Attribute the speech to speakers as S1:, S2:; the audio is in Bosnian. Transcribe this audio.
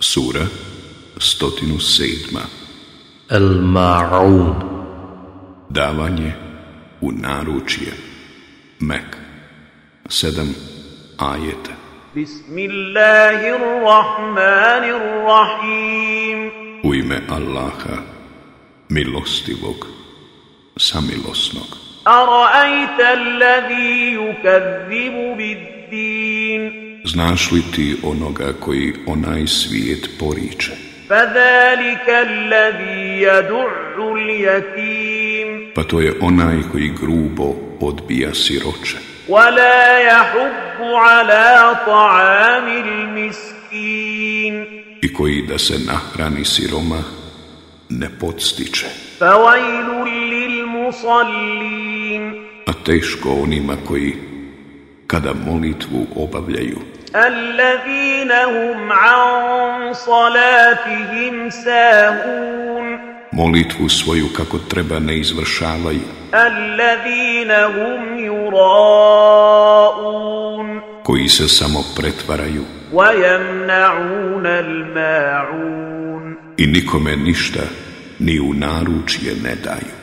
S1: Sura 107.
S2: الماعون
S1: Davanje u naručje. Mek. 7 ajeta.
S3: بسم الله الرحمن الرحيم
S1: U ime Allaha, milostivog, samilosnog.
S3: أرأيت الذي يكذب بالدين
S1: Znaš li ti onoga koji onaj svijet poriče?
S3: فذلك الذي يدع اليتيم
S1: Pa to je onaj koji grubo odbija siroče
S3: ولا يحب على طعام المسكين
S1: i koji da se nahrani siroma ne podstiče,
S3: فويل للمصلين
S1: a teško onima koji kada molitvu obavljaju
S3: الذين هم عن صلاتهم ساهون
S1: molitvu svoju kako treba ne izvršavaju,
S3: الذين هم يراءون
S1: koji se samo pretvaraju
S3: ويمنعون الماعون
S1: i nikome ništa ni u naručje ne daju.